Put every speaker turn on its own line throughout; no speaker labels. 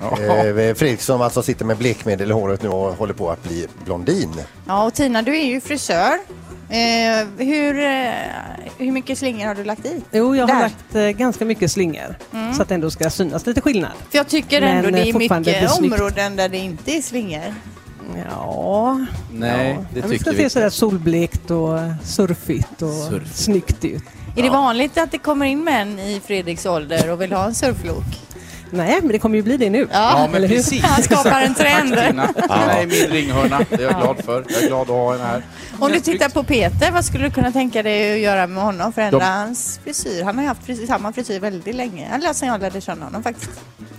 Eh, Fredriksson alltså sitter med blekmedel i håret nu och håller på att bli blondin.
Ja, och Tina, du är ju frisör. Eh, hur, eh, hur mycket slingor har du lagt i?
Jo, jag har
Där. Mm.
lagt eh, ganska mycket slingor så att det ändå ska synas lite skillnad.
För jag tycker ändå
Men,
det är
eh, fortfarande
mycket
är det snyggt.
områden där det inte är slingor.
Ja,
Nej,
ja.
det
Men
tycker
ska
vi
se sådär
inte.
solblekt och surfigt och
Surfigt.
snyggt ut.
Är det vanligt att det kommer in män i Fredriks ålder och vill ha en surflok?
Nej, men det kommer ju bli det nu.
Ja,
Eller hur?
han skapar en trend.
Tina, Tina är min ringhörna. Det är jag glad för. Jag är glad att ha henne här.
Om du tittar på Peter, vad skulle du kunna tänka dig att göra med honom? Förändra
De-
hans frisyr? Han har ju haft frisyr, samma frisyr väldigt länge. Eller sen jag lärde känna honom faktiskt.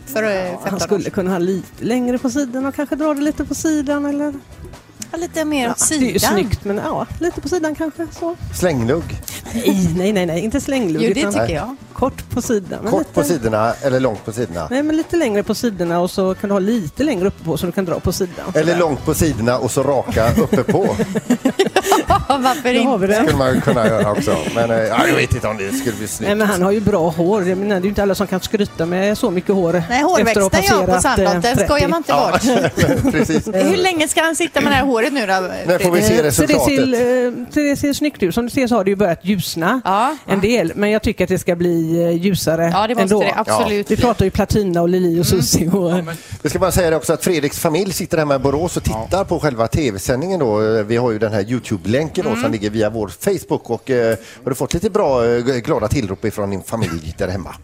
För ja, 15
Han
år
skulle
sedan.
kunna ha lite längre på sidan och kanske dra det lite på sidan eller...
Ja, Lite mer åt
Det är ju
sidan.
snyggt men ja, lite på sidan kanske. Så.
Slängdugg.
Nej, nej, nej, nej, inte slänglugg
Jo, det
utan
tycker jag.
kort på sidan. men
Kort
lite...
på sidorna eller långt på sidorna.
Nej, men lite längre på sidorna och så kan du ha lite längre uppe på så du kan dra på sidan.
Eller långt på sidorna och så raka uppe på.
Ja, varför
Där har vi
inte?
det.
skulle man ju kunna göra också. Men eh, ja, jag vet inte om det skulle bli snyggt.
Nej, men han har ju bra hår. Jag menar, det är ju inte alla som kan skryta med så mycket hår.
Nej,
efter att ha
hårväxten ja, på
passerat, eh,
Sandholt, den
30.
skojar man inte
Ja,
bort.
precis.
Hur länge ska han sitta med det här håret nu då?
När Eh, får vi se
Eh, Så det
resultatet?
ser, eh, så det ser snyggt ut. Som du ser så har det ju börjat ljusna
Ja.
en del, men jag tycker att det ska bli eh, ljusare
Ja, det måste
ändå.
det absolut bli.
Vi
Mm.
pratar ju Platina och Lili och Susie och eh,
Vi ska bara säga det också att Fredriks familj sitter hemma i Borås och tittar på själva tv-sändningen då. Eh, Vi har ju den här Youtube-länken
Mm.
då som ligger via vår Facebook och eh, har du fått lite bra eh, glada tillrop ifrån din familj där hemma?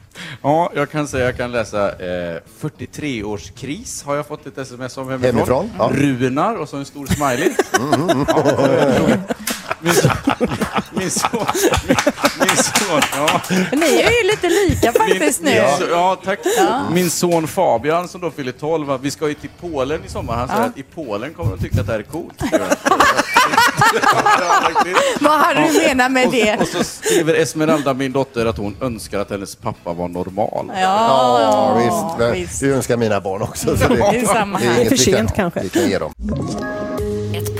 Ja, jag kan säga jag kan läsa eh, 43-årskris har jag fått ett sms om hemifrån.
Hemifrån, ja.
Runar och så en stor smiley. Ja, eh, min son, min son, min, min son ja.
Ni är ju lite lika faktiskt nu.
Min, min, so- ja, tack. Min son Fabian som då fyller 12, va, vi ska ju till Polen i sommar. Han säger att i Polen kommer de tycka att det här är coolt.
Vad hade du menat med det?
Och så skriver Esmeralda, min dotter, att hon önskar att hennes pappa var normal.
Ja,
visst. Men
visst.
Det önskar mina barn också. Så det,
det är samma här.
inget
Det är för
vi kan-
sent kanske.
Vi kan ge dem.
Ett